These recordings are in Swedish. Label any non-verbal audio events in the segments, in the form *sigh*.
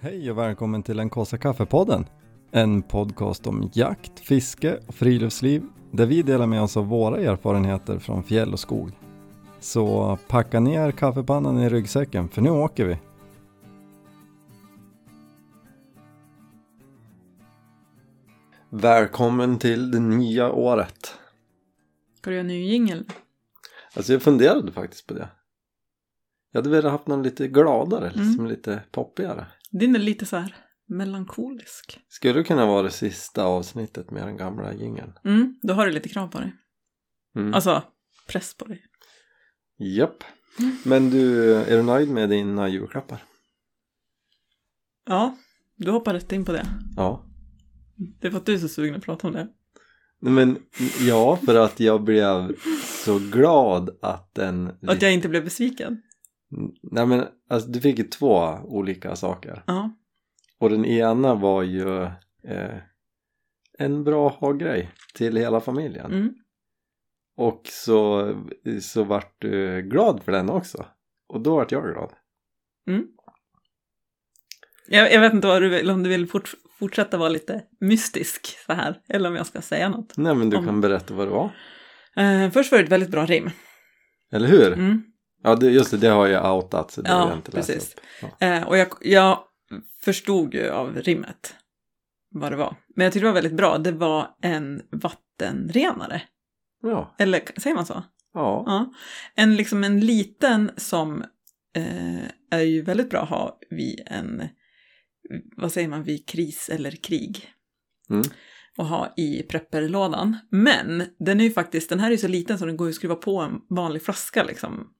Hej och välkommen till den kaffe kaffepodden. En podcast om jakt, fiske och friluftsliv där vi delar med oss av våra erfarenheter från fjäll och skog. Så packa ner kaffepannan i ryggsäcken för nu åker vi. Välkommen till det nya året. Ska du göra en ny jingel? Alltså jag funderade faktiskt på det. Jag hade velat haft någon lite gladare, Mm. liksom lite poppigare. Din är lite så här melankolisk. Skulle det kunna vara det sista avsnittet med den gamla jingeln? Mm, då har du lite krav på dig. Mm. Alltså, press på dig. Japp. Men du, är du nöjd med dina julklappar? Ja, du hoppar rätt in på det. Ja. Det är för att du är så sugen att prata om det. Men ja, för att jag blev så glad att den... Att jag inte blev besviken. Nej men alltså, du fick ju två olika saker. Ja. Och den ena var ju eh, en bra ha-grej till hela familjen. Mm. Och så, så vart du glad för den också. Och då vart jag glad. Jag, jag vet inte vad du vill, om du vill fort, fortsätta vara lite mystisk så här, eller om jag ska säga något. Nej men du Om- kan berätta vad det var. Eh, först var det ett väldigt bra rim. Eller hur? Mm. Ja, det, just det, det har jag outat så det Ja, har jag inte läst precis. upp. Ja. Eh, och jag, jag förstod ju av rimmet vad det var. Men jag tyckte det var väldigt bra. Det var en vattenrenare. Ja, Eller säger man så? ja. Ja. En, liksom en liten som eh, är ju väldigt bra att ha vid en, vad säger man, vid kris eller krig. Mm. Och ha i prepperlådan. Men den är ju faktiskt, den här är ju så liten så den går ju att skruva på en vanlig flaska liksom.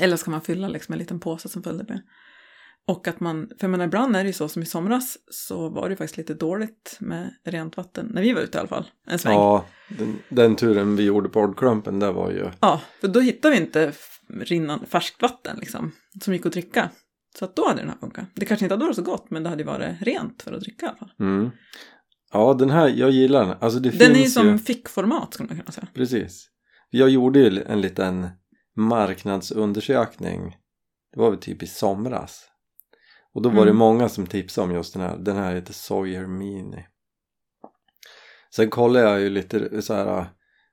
Eller ska man fylla liksom en liten påse som följde med. Och att man, för jag menar ibland är det ju så som i somras så var det ju faktiskt lite dåligt med rent vatten, när vi var ute i alla fall, en sväng. Ja, den, den turen vi gjorde på Oddklumpen, det var ju... Ja, för då hittade vi inte f- rinnan, färskt vatten liksom, som gick att dricka. Så att då hade den här funkat. Det kanske inte hade varit så gott, men det hade ju varit rent för att dricka i alla fall. Mm. Ja, den här, jag gillar den. Alltså det Den är ju finns som ju... fickformat skulle man kunna säga. Precis. Jag gjorde ju en liten marknadsundersökning. Det var väl typ i somras. Och då var det Mm. många som tipsade om just den här. Den här heter Sawyer Mini. Sen kollade jag ju lite så här,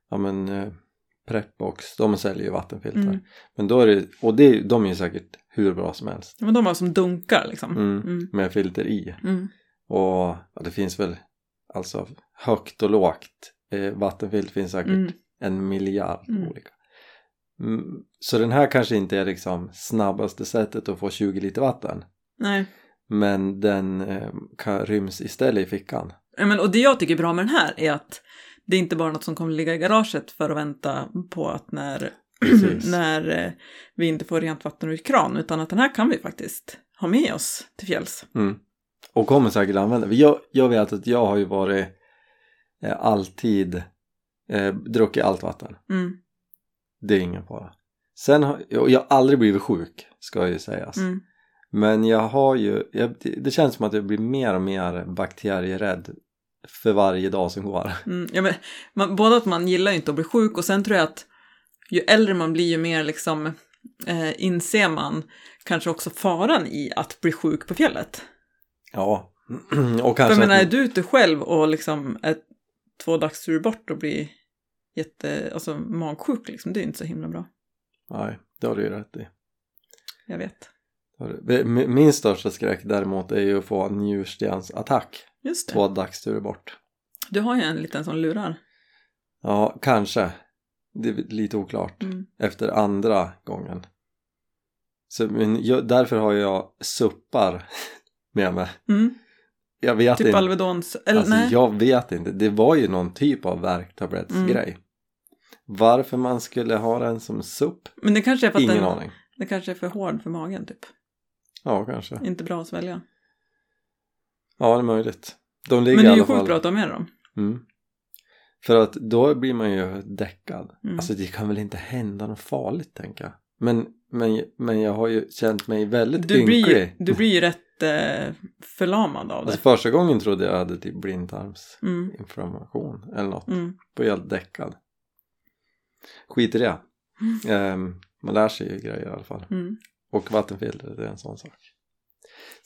ja men eh, Prepbox, de säljer ju vattenfiltar. Mm. Men då är det, och det, är- de är ju säkert hur bra som helst. Ja, Men de var som dunkar liksom. Mm. Mm. Med filter i. Mm. Och ja, det finns väl alltså högt och lågt. Eh, vattenfilt finns säkert Mm. en miljard Mm. olika. Mm, så den här kanske inte är liksom snabbaste sättet att få 20 liter vatten. Nej. Men den eh, kan, ryms istället i fickan. Ja, Men, och det jag tycker är bra med den här är att det är inte bara något som kommer ligga i garaget för att vänta på att när, *clears throat* Precis. när eh, vi inte får rent vatten ur kran, utan att den här kan vi faktiskt ha med oss till fjälls. Mm. Och kommer säkert använda. För Jag, jag vet att jag har ju varit eh, alltid eh, druckit allt vatten. Mm. Det är ingen fara. Sen har och jag har aldrig blivit sjuk ska ju sägas. Mm. Men jag har ju, jag, det- det känns som att jag blir mer och mer bakterierädd för varje dag som går. Mm, ja, men, man, både att man gillar ju inte att bli sjuk och sen tror jag att ju äldre man blir ju mer liksom eh, inser man kanske också faran i att bli sjuk på fjället. Ja, *clears throat* och För jag kanske... menar, är Alltså Att, du ute själv och liksom är två dagsturer bort och blir jätte, alltså magsjuk liksom, det är ju inte så himla bra. nej, det har du ju rätt i. Jag vet. Det har du- Min- Min största skräck däremot är ju att få en njurstensattack Just det. två dagsturer bort. Du har ju en liten som lurar. Ja, kanske. Det är lite oklart. Mm. Efter andra gången. Så, men jag, därför har jag suppar *laughs* med mig. Mm. Jag vet Typ inte. Alvedons, eller alltså, nej. jag vet inte. Det var ju någon typ av värktablettsgrej. Mm. Varför man skulle ha den som supp? Men det kanske är för att Ingen den, aning. den kanske är för hård för magen typ. Ja, kanske. Inte bra att svälja. Ja, det är möjligt. De Men ligger det i är ju alla sjukt fall... bra att ha med dem. Mm. För att då blir man ju däckad. Mm. Alltså det kan väl inte hända något farligt tänker jag. Men, men, men jag har ju känt mig väldigt Du ynklig. blir, ju- du blir ju rätt eh, förlamad av det. Alltså första gången trodde jag hade typ blindtarmsinflammation Mm, eller något. mm. Var helt däckad. Skit i det. Ehm, man lär sig ju grejer i alla fall. Mm. Och vattenfiltret är en sån sak.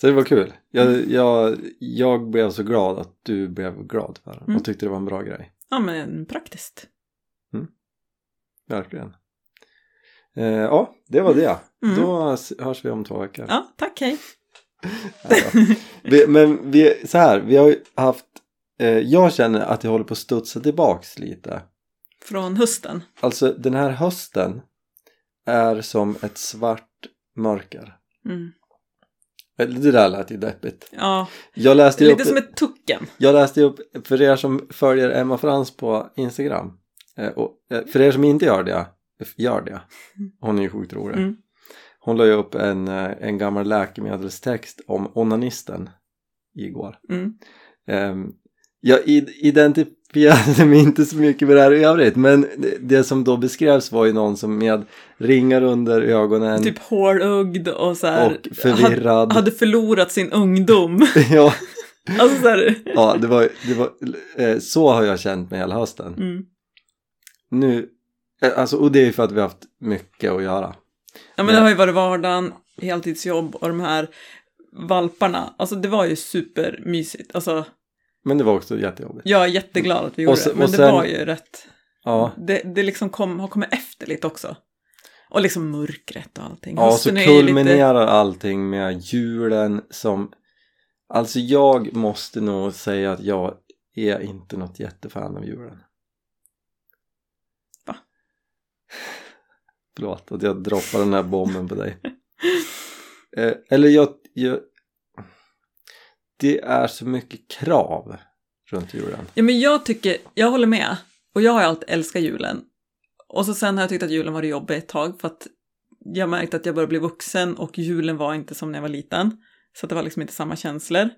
Så det var kul. Mm. Jag, jag, jag blev så glad att du blev glad för det Mm. och tyckte det var en bra grej. Ja, men praktiskt. Verkligen. Eh, ja, det var det. Mm. Då s- hörs vi om två veckor. Ja, tack, hej. Ja, då. vi, men vi, så här, vi har ju haft... Eh, jag känner att jag håller på att studsa tillbaks lite. Från hösten. Alltså den här hösten är som ett svart mörker. Mm. Eller, Det där lät ju deppigt. Ja, Jag läste ju upp, lite som ett tucken. jag läste ju upp för er som följer Emma Frans på Instagram. Eh, och, eh, för er som inte gör det, gör det. Hon är ju sjukt rolig. Mm. Hon la ju upp en, eh, en gammal läkemedelstext om onanisten igår. Mm. Ehm, jag id- identifierade mig inte så mycket med det här i övrigt men det, det som då beskrevs var ju någon som med ringar under ögonen Typ hårögd och så här. och förvirrad. *laughs* Hade, hade förlorat sin ungdom. *laughs* *laughs* ja, alltså så här. ja det var, det var, eh, så har jag känt mig hela hösten. Mm. Nu, eh, alltså, och det är ju för att vi har haft mycket att göra. Ja, men det har ju varit vardagen, heltidsjobb och de här valparna. Alltså det var ju supermysigt. Alltså Men det var också jättejobbigt. jag är jätteglad att vi gjorde Och se- det, men och sen- det var ju rätt. Ja, Det, det liksom kom, har kommit efter lite också. Och liksom mörkret och allting. ja så Hösten är ju lite- kulminerar allting med julen som... Alltså jag måste nog säga att jag är inte något jättefan av julen. Va? *laughs* Förlåt att jag droppar den här bomben på dig. *laughs* Eh, eller jag, jag... Det är så mycket krav runt julen. Ja, men jag tycker, jag håller med. Och jag har ju alltid älskat julen. Och så sen har jag tyckt att julen var det jobbigt ett tag för att jag märkte att jag började bli vuxen och julen var inte som när jag var liten. Så att det var liksom inte samma känslor.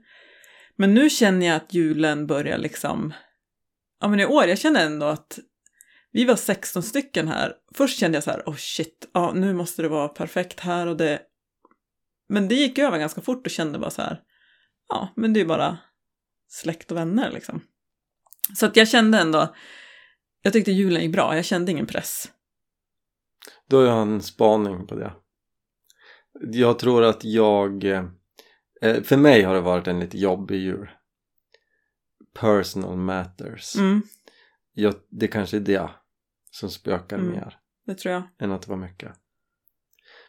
Men nu känner jag att julen börjar liksom, ja men i år, jag känner ändå att vi var 16 stycken här. Först kände jag så här, oh shit, ja nu måste det vara perfekt här och det. Men det gick över ganska fort och kände bara så här, ja men det är ju bara släkt och vänner liksom. Så att jag kände ändå, jag tyckte julen gick bra, jag kände ingen press. Då har jag en spaning på det. Jag tror att jag... eh, För mig har det varit en lite jobbig jul. Personal matters. Mm, Jag, det kanske är det som spökar Mm. mer det tror jag. än att det var mycket.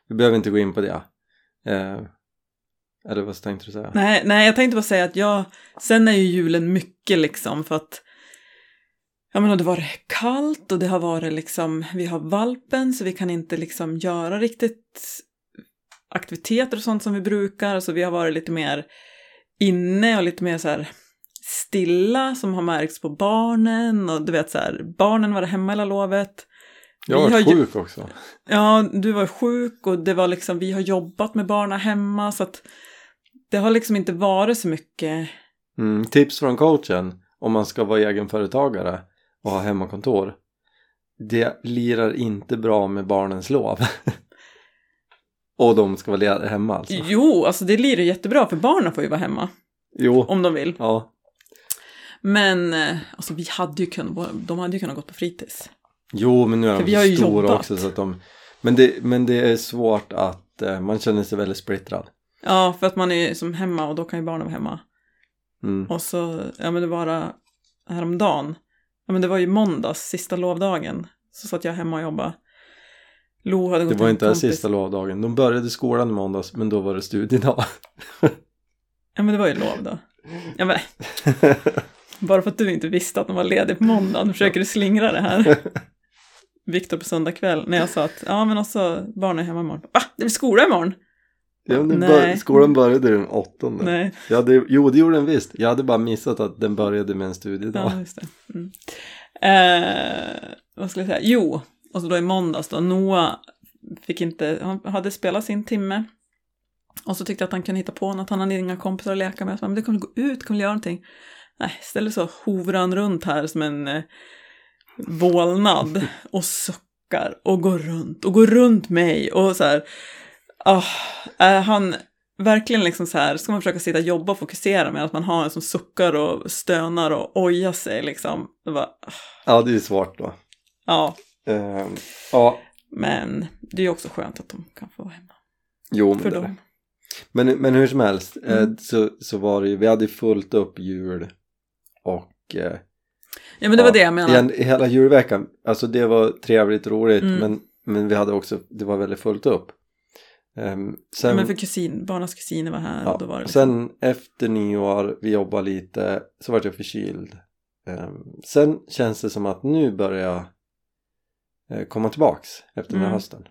Vi behöver inte gå in på det. Eh, eller vad tänkte du säga? Nej, nej, jag tänkte bara säga att jag, sen är ju julen mycket liksom för att Ja men och det har varit kallt och det har varit liksom, vi har valpen så vi kan inte liksom göra riktigt aktiviteter och sånt som vi brukar. Så vi har varit lite mer inne och lite mer så här stilla som har märkts på barnen och du vet så här, barnen var hemma hela lovet. jag vi var har ju- sjuk också. Ja, du var sjuk och det var liksom, vi har jobbat med barnen hemma så att det har liksom inte varit så mycket. Mm, tips från coachen om man ska vara egenföretagare och ha hemmakontor. Det lirar inte bra med barnens lov. *laughs* och de ska vara led- hemma alltså. Jo, alltså det lirar jättebra för barnen får ju vara hemma Jo, om de vill. ja. Men eh, alltså vi hade ju kunnat, de hade ju kunnat gått på fritids. Jo, men nu är För de vi har ju så stora jobbat. också så att de... Men det, men det är svårt att... eh, Man känner sig väldigt splittrad. Ja, för att man är ju som hemma och då kan ju barnen vara hemma. Mm. Och så, ja men det var häromdagen, ja men det var ju måndags, sista lovdagen, så satt jag hemma och jobbade. Lo hade gått Det till var en inte den kompis. sista lovdagen. De började skolan i måndags men då var det studiedag. *laughs* Ja men det var ju lov då. Ja, men, bara för att du inte visste att de var ledig på måndagen försöker du slingra det här. Viktor på söndag kväll när jag sa att ja men också barnen är hemma imorgon. Va? Det blir skola imorgon? ja, men Nej. bör, skolan började den åttonde. Nej, Jag hade, jo, det gjorde den visst. Jag hade bara missat att den började med en studiedag. ja just det. Mm. Eh, vad skulle jag säga? Jo, och så då i måndags då, Noah fick inte, han hade spelat sin timme. Och så tyckte jag att han kunde hitta på något, han hade inga kompisar att leka med. Jag sa, men du kan väl gå ut, kan väl göra någonting? Nej, istället så hovrar han runt här som en eh, vålnad och suckar och går runt och går runt mig och så här. ah, är han verkligen liksom så här, ska man försöka sitta och jobba och fokusera med att man har en som suckar och stönar och ojar sig liksom. Det var, ah, Ja, det är ju svårt då. ja, Ehm, ja, men det är ju också skönt att de kan få vara hemma jo men för det, dem. Mm. Men, men hur som helst eh, så, så var det ju, vi hade ju fullt upp jul och eh, Ja men det var Ja, det jag menade. igen, hela julveckan, alltså det var trevligt och roligt Mm. men, men vi hade också, det var väldigt fullt upp. Ehm, Ja, sen, Men för kusin, barnas kusiner var här ja, och då var det liksom, sen efter nyår, vi jobbade lite, så vart jag förkyld. Ehm, sen känns det som att nu börjar jag eh, komma tillbaks efter den här Mm. hösten.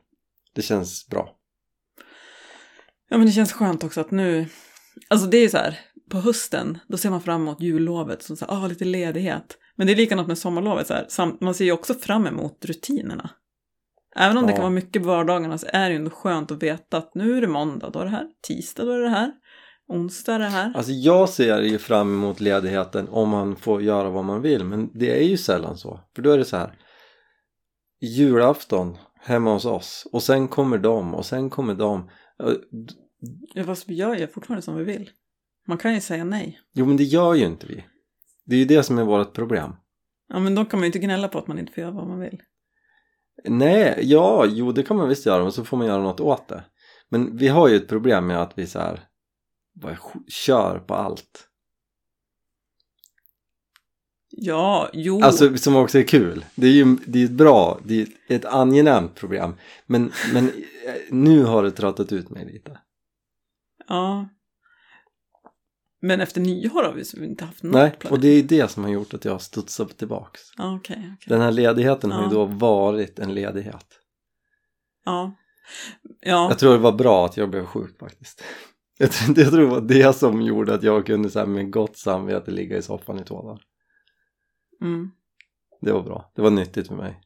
Det känns bra. Ja men det känns skönt också att nu, alltså det är ju så här, på hösten då ser man fram emot jullovet som så här, ah lite ledighet. Men det är likadant med sommarlovet så här, Sam, man ser ju också fram emot rutinerna. Även om det Ja. kan vara mycket på vardagarna så är det ju ändå skönt att veta att nu är det måndag, då är det här, tisdag, då är det här, onsdag är det här. Alltså jag ser ju fram emot ledigheten om man får göra vad man vill men det är ju sällan så. För då är det så här julafton hemma hos oss och sen kommer de och sen kommer de. Eh, d- Ja, fast vi gör ju fortfarande som vi vill. Man kan ju säga nej. Jo men det gör ju inte vi. Det är ju det som är vårt problem. Ja men då kan man ju inte gnälla på att man inte får göra vad man vill. Nej, ja, jo det kan man visst göra men så får man göra något åt det. Men vi har ju ett problem med att vi så här bara sk- kör på allt. Ja, jo. Alltså som också är kul. Det är ju det är ett bra, det är ett angenämt problem. Men, men eh, nu har det trattat ut mig Mm. lite. Ja. Men efter nyår har vi så inte haft något Nej, plan. och det är det som har gjort att jag har studsat tillbaks. Ja, okej. okej. Den här ledigheten har ju Ja. då varit en ledighet. Ja. Ja. Jag tror det var bra att jag blev sjuk faktiskt. *laughs* Jag tror, jag tror det var det som gjorde att jag kunde så här, med gott samvete ligga i soffan i två dagar. Mm. Det var bra. Det var nyttigt för mig.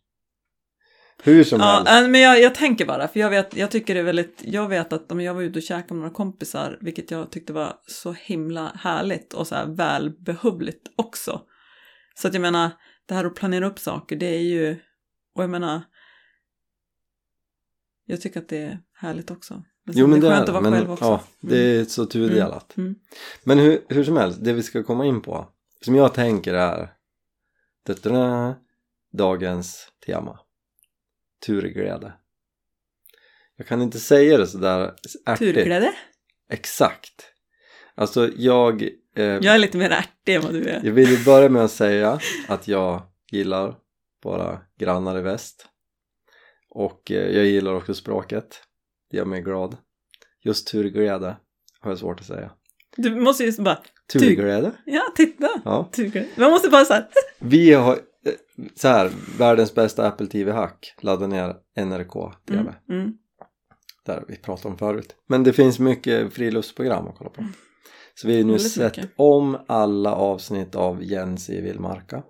Hur som ja helst. äh, men jag, jag tänker bara, för jag vet, jag tycker det är väldigt, jag vet att om jag var ute och käkade med några kompisar, vilket jag tyckte var så himla härligt och så här välbehövligt också. Så att jag menar, det här att planera upp saker, det är ju, och jag menar, jag tycker att det är härligt också. Jo men det är Alltså, skönt det. att vara Men, själv också. ja, det är så tudelat. Mm. Men hur, hur som helst, det vi ska komma in på. Som jag tänker är da-da-da, dagens tema. Turglädje. Jag kan inte säga det sådär ärtigt. Turglädje. Exakt. Alltså jag... Eh, Jag är lite mer ärtig än vad du är. Jag vill ju börja med att säga att jag gillar våra grannar i väst och eh, jag gillar också språket. Det gör mig glad. Just turglädje har jag svårt att säga. Du måste ju bara, Turglädje? ja titta, Ja. turglädje. Man måste bara såhär, Vi har eh, så här, världens bästa Apple TV-hack. Ladda ner NRK TV. mm, mm. Där vi pratade om förut. Men det finns mycket friluftsprogram att kolla på. Så vi har ju nu Mm. Väldigt sett mycket. om alla avsnitt av Jens i Villmarka.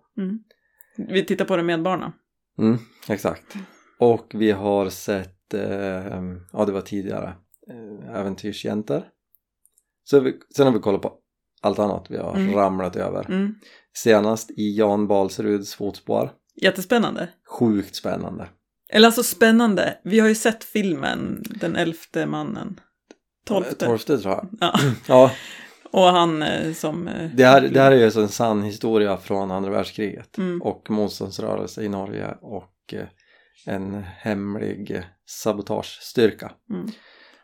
Vi tittar på det med barnen. Mm, exakt. Och vi har sett, eh, ja det var tidigare, eh, Äventyrsjäntor. Så vi, sen har vi kollat på allt annat vi har Mm. ramlat över. Mm. Senast i Jan Balseruds fotspår. Jättespännande. Sjukt spännande. Eller alltså spännande, vi har ju sett filmen Den elfte mannen. Eh, Tolfte. Torfte tror jag. Ja. Ja, Och han eh, som... eh, det här, det här är ju alltså en sann historia från andra världskriget. Mm. Och motståndsrörelse i Norge och eh, en hemlig eh, sabotagestyrka. Mm.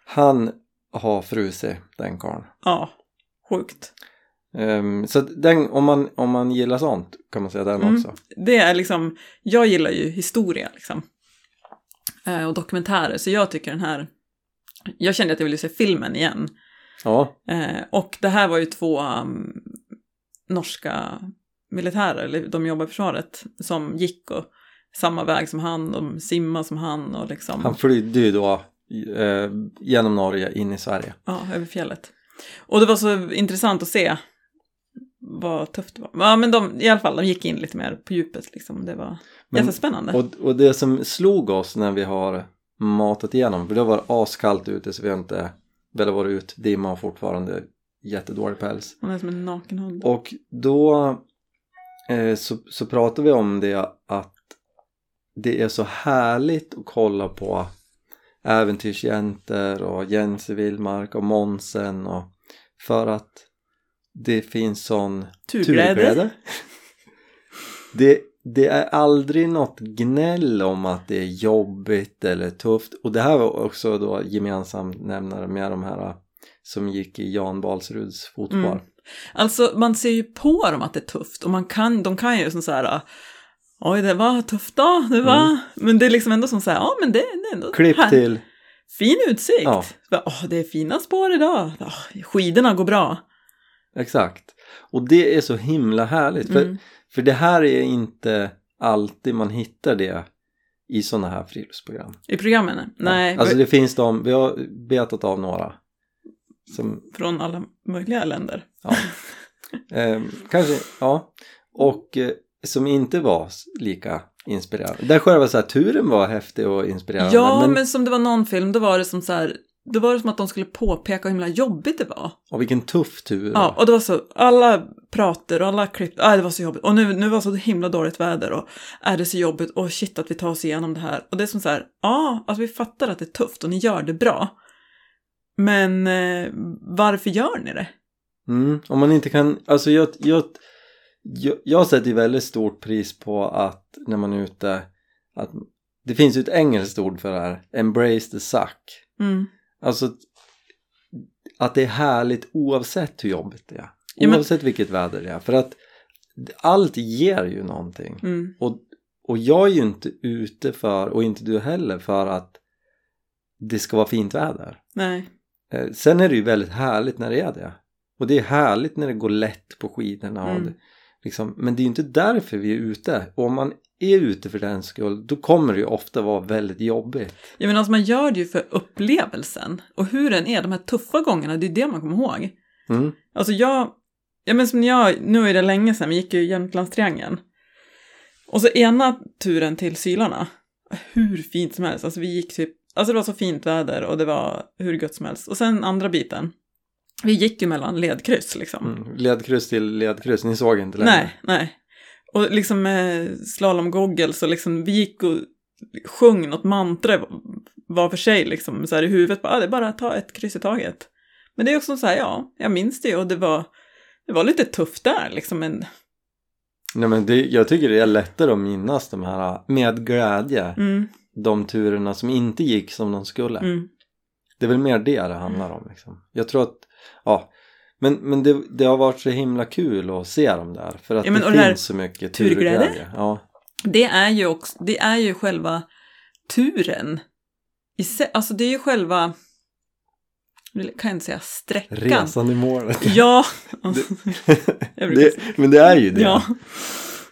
Han har frusit den karln. Ja, sjukt. Ehm, så att den, om, man, om man gillar sånt kan man säga den Mm. också. Det är liksom, jag gillar ju historia liksom. Eh, och dokumentärer, så jag tycker den här... Jag kände att jag ville se filmen igen. Ja, Eh, och det här var ju två um, norska militärer, eller de jobbar i försvaret, som gick och samma väg som han, de simmade som han och liksom... han flydde ju då eh, genom Norge in i Sverige. Ja, över fjället. Och det var så intressant att se vad tufft det var. Ja, men de, i alla fall, de gick in lite mer på djupet liksom. Det var Men- jättespännande. Och, och det som slog oss när vi har matat igenom, för det var askallt ute så vi har inte väl varit ut, dimma och fortfarande jättedålig päls. Hon är som en naken hund. Och då eh, så, så pratar vi om det att det är så härligt att kolla på äventyrsjäntor och Jens i Vildmark och Monsen och för att det finns sån Turglädje. Det, det är aldrig något gnäll om att det är jobbigt eller tufft och det här var också då gemensam nämnare med de här som gick i Jan Balsruds fotspår. Mm. Alltså man ser ju på dem att det är tufft och man kan, de kan ju som så här Oj, det var tufft då, det var... Men det är liksom ändå som så här, ja men det, det är ändå... Mm. Klipp här- till Fin utsikt! Ja. Bara, Åh, det är fina spår idag! Åh, skidorna går bra! Exakt. Och det är så himla härligt. För, Mm. för det här är inte alltid man hittar det i sådana här friluftsprogram. I programmen? Nej, Alltså det finns de, vi har betat av några. Som, från alla möjliga länder. ja. eh, kanske, ja. Och eh, som inte var s- lika inspirerande. Där själva så här, turen var häftig och inspirerande. Ja, men... men, som det var någon film, då var det som så här, då var det som att de skulle påpeka hur himla jobbigt det var. Och vilken tuff tur. Ja, och det var så, alla prater och alla klipp, aj, det var så jobbigt. Och nu, nu var det så himla dåligt väder och är det så jobbigt och shit att vi tar oss igenom det här. Och det är som så här, ja, alltså vi fattar att det är tufft och ni gör det bra. Men eh, varför gör ni det? Mm, om man inte kan, alltså jag, jag, jag, jag sätter ju väldigt stort pris på att när man är ute, att det finns ju ett engelskt ord för det här, embrace the suck. Mm. Alltså att det är härligt oavsett hur jobbigt det är. Ja, men- Oavsett vilket väder det är. För att allt ger ju någonting. Mm. Och, och jag är ju inte ute för, och inte du heller, för att det ska vara fint väder. Nej. Eh, Sen är det ju väldigt härligt när det är det. Och det är härligt när det går lätt på skidorna. och Mm. det, liksom, men det är ju inte därför vi är ute. Och om man är ute för den skull, då kommer det ju ofta vara väldigt jobbigt. Jag menar, alltså man gör det ju för upplevelsen och hur den är, de här tuffa gångerna, det är ju det man kommer ihåg. Mm. Alltså jag, ja men som när jag, nu är det länge sedan, vi gick ju Jämtlandstriangeln. Och så ena turen till Sylarna, hur fint som helst, alltså vi gick typ, alltså det var så fint väder och det var hur gött som helst. Och sen andra biten, vi gick ju mellan ledkryss liksom. Mm. Ledkryss till ledkryss, ni såg inte längre. Nej, nej. Och liksom med slalomgoggles och liksom, vi gick och sjöng något mantra var för sig liksom, så här i huvudet, bara, ah, det är bara att ta ett kryss i taget. Men det är också så här, ja, jag minns det ju och det var, det var lite tufft där liksom, men Nej men det, jag tycker det är lättare att minnas de här med glädje. mm, De turerna som inte gick som de skulle. mm, Det är väl mer det det handlar om. Liksom. Jag tror att, ja. Men, men det, det har varit så himla kul att se dem där. För att Ja, men det och det här finns så mycket turglädje. turglädje. Ja. det är ju också, det är ju själva turen i sig, alltså det är ju själva, nu kan jag inte säga sträckan. Resan i *laughs* målet. Ja, *laughs* jag brukar Det, men det är ju det. Ja.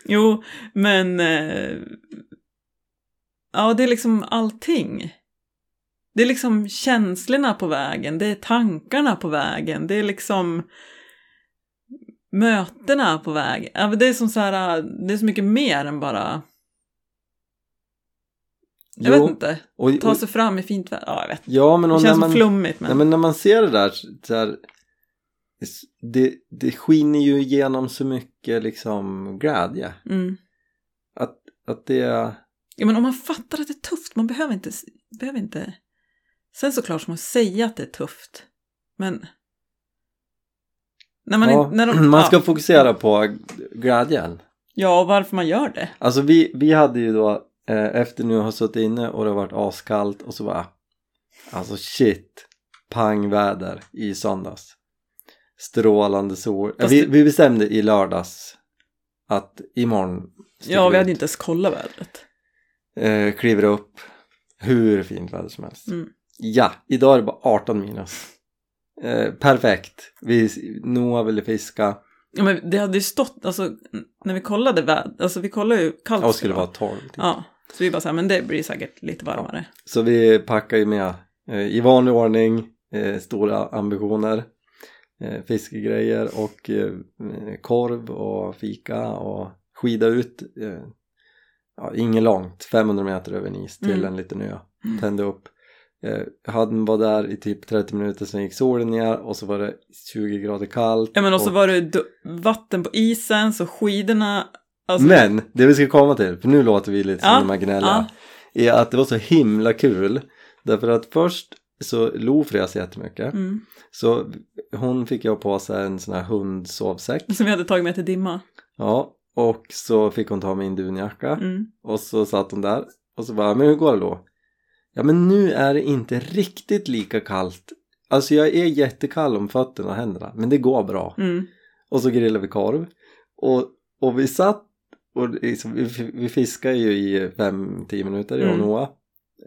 Jo, men... eh, Ja, det är liksom allting. Det är liksom känslorna på vägen, det är tankarna på vägen, det är liksom mötena på vägen. Ja, men Det är som så här, eh, det är så mycket mer än bara, jag Jo, vet inte, och, och, ta sig fram i fint väder. Ja, jag vet. ja, men Det och när känns man, så flummigt, men... Nej, men när man ser det där, så här, det, det skiner ju igenom så mycket liksom glädje. Mm. Att, att det är... Ja, men om man fattar att det är tufft, man behöver inte... Behöver inte... Sen såklart som att säga att det är tufft, men... När man, ja, inte- när de, *clears throat* man ska ja, fokusera på glädjen. ja, och varför man gör det. Alltså vi, vi hade ju då eh, efter nu har suttit inne och det har varit askallt och så bara alltså shit pangväder i söndags strålande sol Fast vi, det- vi bestämde i lördags att imorgon sticker Ja, vi ut. hade inte ens kollat vädret. eh, kliver upp hur fint väder som helst Mm. ja, idag är det bara 18 minus eh, perfekt vi, Noah ville fiska Ja, men det hade ju stått, alltså n- när vi kollade vädret, alltså vi kollade ju hur kallt och skulle vara 12 typ. Ja, så vi bara så här, men det blir säkert lite varmare. Så vi packar ju med eh, i vanlig ordning eh, stora ambitioner. Eh, fiskegrejer och eh, korv och fika och skida ut. Eh, ja, inget långt, 500 meter över en is till Mm. en liten ö. Mm. Tände upp. Eh, hade var där i typ 30 minuter, sen gick solen ner och så var det 20 grader kallt. Ja, men och så var det du- vatten på isen, så skidorna, alltså... Men det vi ska komma till, för nu låter vi lite Ja, som de här gnälliga, är att det var så himla kul. Därför att först så Lo frös jättemycket. Mm, Så hon fick jag på sig en sån här hundsovsäck. som vi hade tagit med till dimma. Ja, och så fick hon ta min dunjacka. Mm. Och så satt hon där och så bara, men hur går det då? Ja, men nu är det inte riktigt lika kallt Alltså jag är jättekall om fötterna och händerna, men det går bra. Mm. Och så grillade vi korv. Och, och vi satt och liksom, vi, vi fiskade ju i fem, tio minuter, jag och Mm. Noah.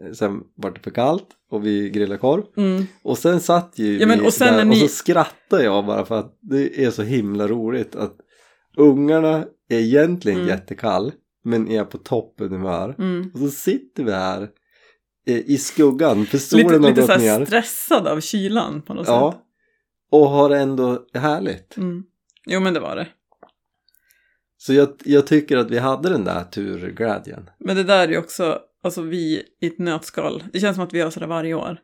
Eh, Sen var det för kallt och vi grillade korv. Mm. Och sen satt ju Ja, men vi och sen där när och ni- så skrattade jag bara för att det är så himla roligt att ungarna är egentligen Mm. jättekall men är på toppenhumör. Mm. Och så sitter vi här eh, i skuggan för solen Lite, har lite gått så ner. här stressad av kylan på något sätt. Ja. Och har det ändå härligt. Mm. Jo, men det var det. Så jag, jag tycker att vi hade den där turglädjen. Men det där är ju också, alltså vi i ett nötskal, det känns som att vi gör sådär varje år.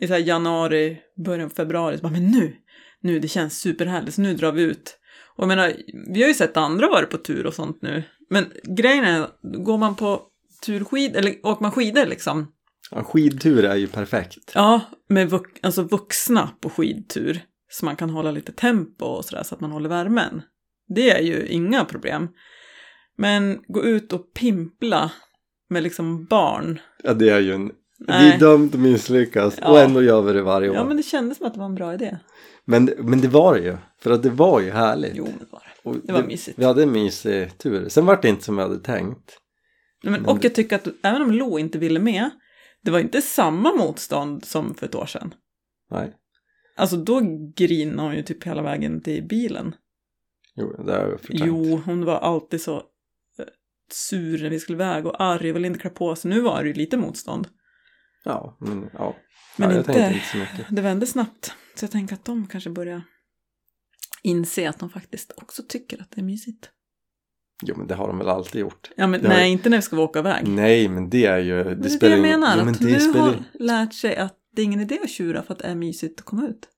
I så här januari, början av februari, så bara, men nu, nu, det känns superhärligt, så nu drar vi ut. Och jag menar, vi har ju sett andra vara på tur och sånt nu. Men grejen är, går man på turskid, eller åker man skidor liksom, Ja, skidtur är ju perfekt. ja, med vux, alltså vuxna på skidtur, så man kan hålla lite tempo och sådär, så att man håller värmen. Det är ju inga problem. Men gå ut och pimpla med liksom barn Ja, det är ju en... Vi Nej. är dömt att misslyckas och Ja. ändå gör vi det varje år. Ja, men men... det kändes som att det var en bra idé. Men, det var det ju. För att det var ju härligt. Jo, men det var det. Och var mysigt. Vi hade en mysig tur. Sen var det inte som jag hade tänkt. Nej, Men, och jag tycker att även om Lo inte ville med, det var inte samma motstånd som för ett år sedan. Nej, Alltså då grinade hon ju typ hela vägen till bilen. jo, det har jag förträngt. Jo, hon var alltid så eh, sur när vi skulle iväg och arg och ville inte klä på sig. Nu var det ju lite motstånd. Ja, men, ja. Men ja, jag inte- tänkte inte så mycket. Det vände snabbt, så jag tänker att de kanske börjar inse att de faktiskt också tycker att det är mysigt. Jo, men det har de väl alltid gjort. Ja, men Det har- nej, inte när vi ska åka iväg. Nej, men det är ju... Men det är det spelar jag ju- menar, Jo, men att det nu spelar... har lärt sig att det är ingen idé att tjura för att det är mysigt att komma ut.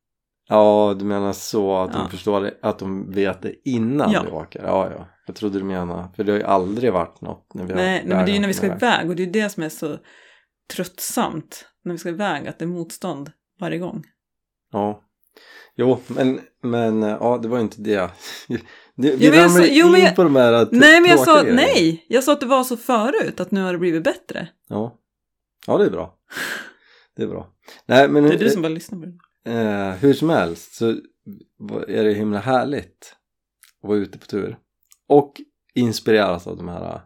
Ja, du menar så att Ja. de förstår det, att de vet det innan Ja. vi åker? Ja, ja. Jag trodde du menade, för det har ju aldrig varit något när vi har nej, nej, men det är ju när vi ska vägarna iväg och det är ju det som är så tröttsamt när vi ska iväg, att det är motstånd varje gång. Ja. Jo, men, men ja, det var ju inte det. *laughs* det vi Jo, men jag ramlade sa- jo, in men jag- på de här t- nej, men jag sa typ tråkiga grejerna. nej! Jag sa att det var så förut, att nu har det blivit bättre. Ja. ja, det är *laughs* bra. Det är bra. Nej, men Det är du som bara lyssnar på det. eh, hur som helst så är det himla härligt att vara ute på tur. Och inspireras av de här eh,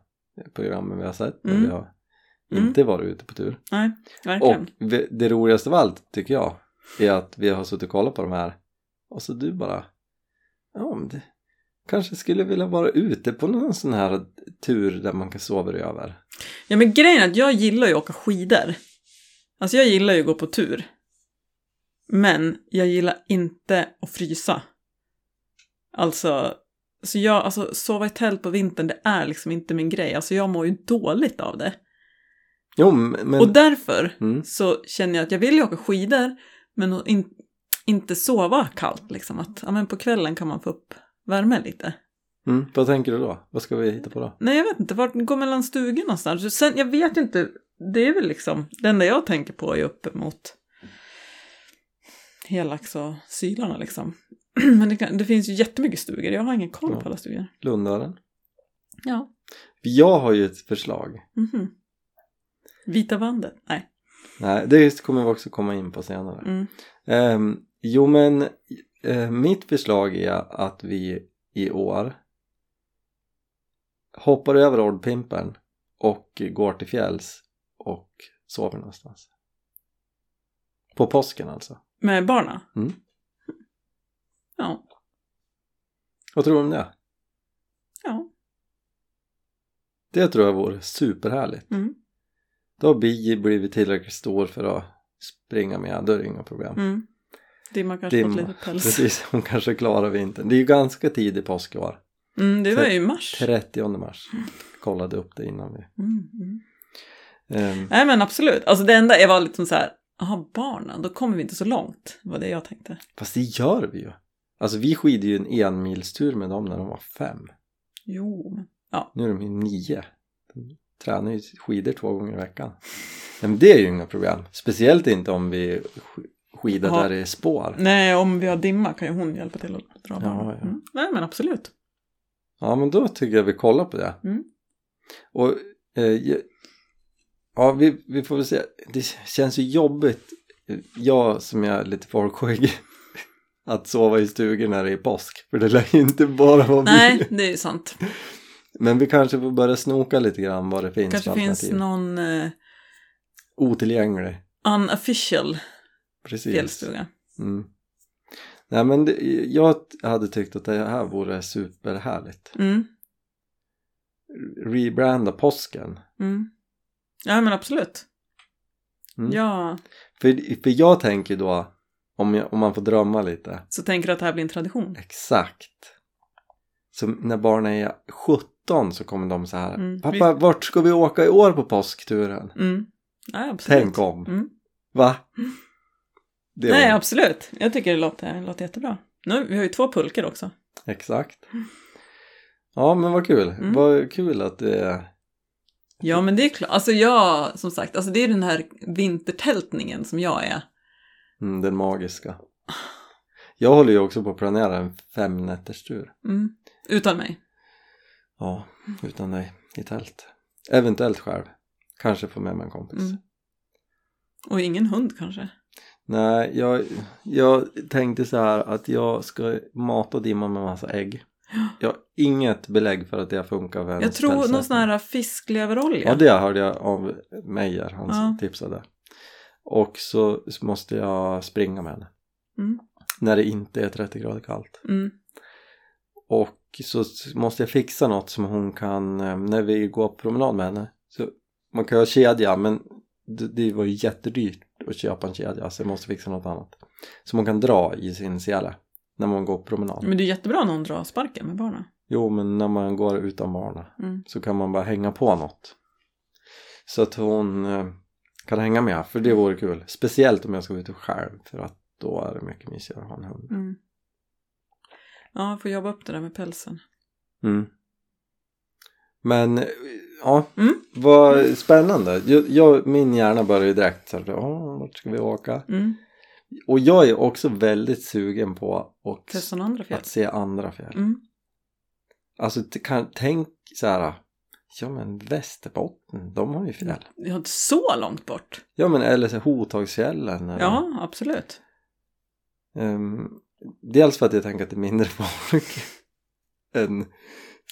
programmen vi har sett när Mm. vi har Mm. inte varit ute på tur. Och Verkligen. vi- det roligaste av allt tycker jag är att vi har suttit och kollat på de här och så du bara ja men det kanske skulle vilja vara ute på någon sån här tur där man kan sova över. Ja, men grejen är att jag gillar ju att åka skidor. Alltså jag gillar ju att gå på tur. Men jag gillar inte att frysa. Alltså, så jag, alltså sova i tält på vintern, det är liksom inte min grej. Alltså jag mår ju dåligt av det. Jo m- men Och därför mm, så känner jag att jag vill ju åka skidor, men att in, inte sova kallt liksom. Att ja, men på kvällen kan man få upp värme lite. mm, vad tänker du då? Vad ska vi hitta på då? Nej, jag vet inte. Vart går mellan stugorna någonstans? Sen, jag vet ju inte. Det är väl liksom, det enda jag tänker på är uppemot Helax och Sylarna liksom. *clears throat* Men det, kan, det finns ju jättemycket stugor. Jag har ingen koll Ja. på alla stugor. Lundaren? Ja. Jag har ju ett förslag. Mhm. Vita bandet? Nej. Nej, det kommer vi också komma in på senare. Mm. Ehm, jo men eh, mitt förslag är att vi i år hoppar över ordpimpen och går till fjälls och sover någonstans. På påsken alltså. Med barna? Mm. Ja. Vad tror du om det? Ja. Det tror jag vore superhärligt. Mm. Då har Bi blivit tillräckligt stor för att springa med, då är det inga problem. Mm. Dimma kanske fått Dimma. lite päls. Precis, hon kanske klarar vintern. Det är ju ganska tidig påsk i år. Mm, det var ju i mars. 30 mars. Kollade upp det innan vi... Mm. Mm. ehm, Nej men absolut. Alltså det enda jag var lite som så här, jaha barnen, då kommer vi inte så långt. var det jag tänkte. Fast det gör vi ju. Alltså vi skidde ju en enmilstur med dem när de var fem. Jo, men... Nu är de ju nio. De tränar ju skidor två gånger i veckan. Nej, men det är ju inga problem. Speciellt inte om vi sk- skidar Ja. där det är spår. Nej, om vi har dimma kan ju hon hjälpa till att dra barnen. ja. Mm. Nej, men *laughs* absolut. Ja men då tycker jag vi kollar på det. Mm. Och eh, ja, vi, vi får väl se. Det känns ju jobbigt jag som är lite folkskägg *laughs* att sova i stugan när det är påsk. För det lär ju inte bara vara Nej, det är ju sant. Men vi kanske får börja snoka lite grann vad det finns kanske för finns alternativ. någon eh, Otillgänglig. unofficial Precis. fjällstuga. Mm. Nej men det, jag hade tyckt att det här vore superhärligt. Mm, Rebranda påsken. mm. Ja, men absolut. Mm. Ja, För, för jag tänker då, om, jag, om man får drömma lite. så tänker du att det här blir en tradition? Exakt. Så när barnen är 17 så kommer de så här. Mm. Pappa, vart ska vi åka i år på påskturen? Mm. Ja, absolut. Tänk om. Mm. *laughs* Va? Det var- Nej, absolut. Jag tycker det låter, låter jättebra. Nu, vi har ju två pulkor också. Exakt. Ja men vad kul. Mm. Vad kul att det är. Ja, men det är klart. Alltså jag, som sagt, alltså det är den här vintertältningen som jag är. Mm, den magiska. Jag håller ju också på att planera en femnätterstur. Mm. Utan mig. Ja, utan dig. I tält. Eventuellt själv. Kanske få med mig en kompis. Mm. Och ingen hund kanske. Nej, jag, jag tänkte så här att jag ska mata dimman med massa ägg. Jag har inget belägg för att det funkar för Jag hennes tror någon pälssättning. sån här fiskleverolja. Ja, det hörde jag av Meijer, han Ja. tipsade. Och så måste jag springa med henne. Mm. När det inte är 30 grader kallt. Mm. Och så måste jag fixa något som hon kan, eh, när vi går på promenad med henne. Så man kan ju ha kedja men det, det var ju jättedyrt att köpa en kedja så jag måste fixa något annat. Som hon kan dra i sin sele när man går på promenad. Men det är jättebra när hon drar sparken med barnen. Jo men när man går utan barnen Mm. så kan man bara hänga på något. Så att hon eh, kan hänga med för det vore kul. Speciellt om jag ska ut själv för att då är det mycket mysigare att ha en hund. Mm. Ja, jag får jobba upp det där med pälsen. Mm. Men eh, ja, Mm. vad spännande. Jag, jag, min hjärna börjar ju direkt så här, "Åh, vart ska vi åka? Mm. Och jag är också väldigt sugen på och, Testa några andra fjäll. att se andra fjäll. Mm. Alltså t- kan, tänk så här, ja men Västerbotten, de har ju fjäll. Jag är inte så långt bort. Ja men eller så här, Hotagsfjällen. Eller, Ja, absolut. Ehm, dels för att jag tänker att det är mindre *laughs* folk än...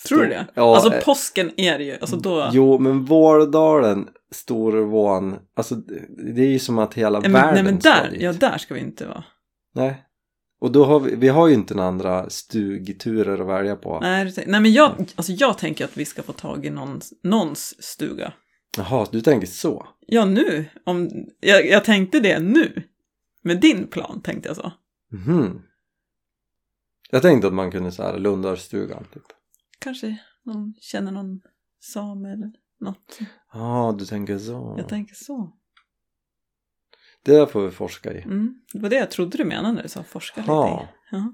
Tror du stor- det? Ja, alltså eh, påsken är det ju. Alltså då... Jo, men Vårdalen, Storvån, alltså det det är ju som att hela Nej, men- världen nej men ska där, dit. ja, där ska vi inte vara. Nej. Och då har vi, vi har ju inte några andra stugturer att välja på. Nej, du tänk- nej men jag, alltså jag tänker att vi ska få tag i någons, någons stuga. Jaha, du tänker så? Ja nu, om, jag, jag tänkte det nu. Med din plan tänkte jag så. Mhm. Jag tänkte att man kunde så här Lundarstugan typ. Kanske någon känner någon same eller något. Ja, du tänker så. Jag tänker så. Det där får vi forska i. Mm. Det var det jag trodde du menade när du sa forska lite. Ja. i. Ja.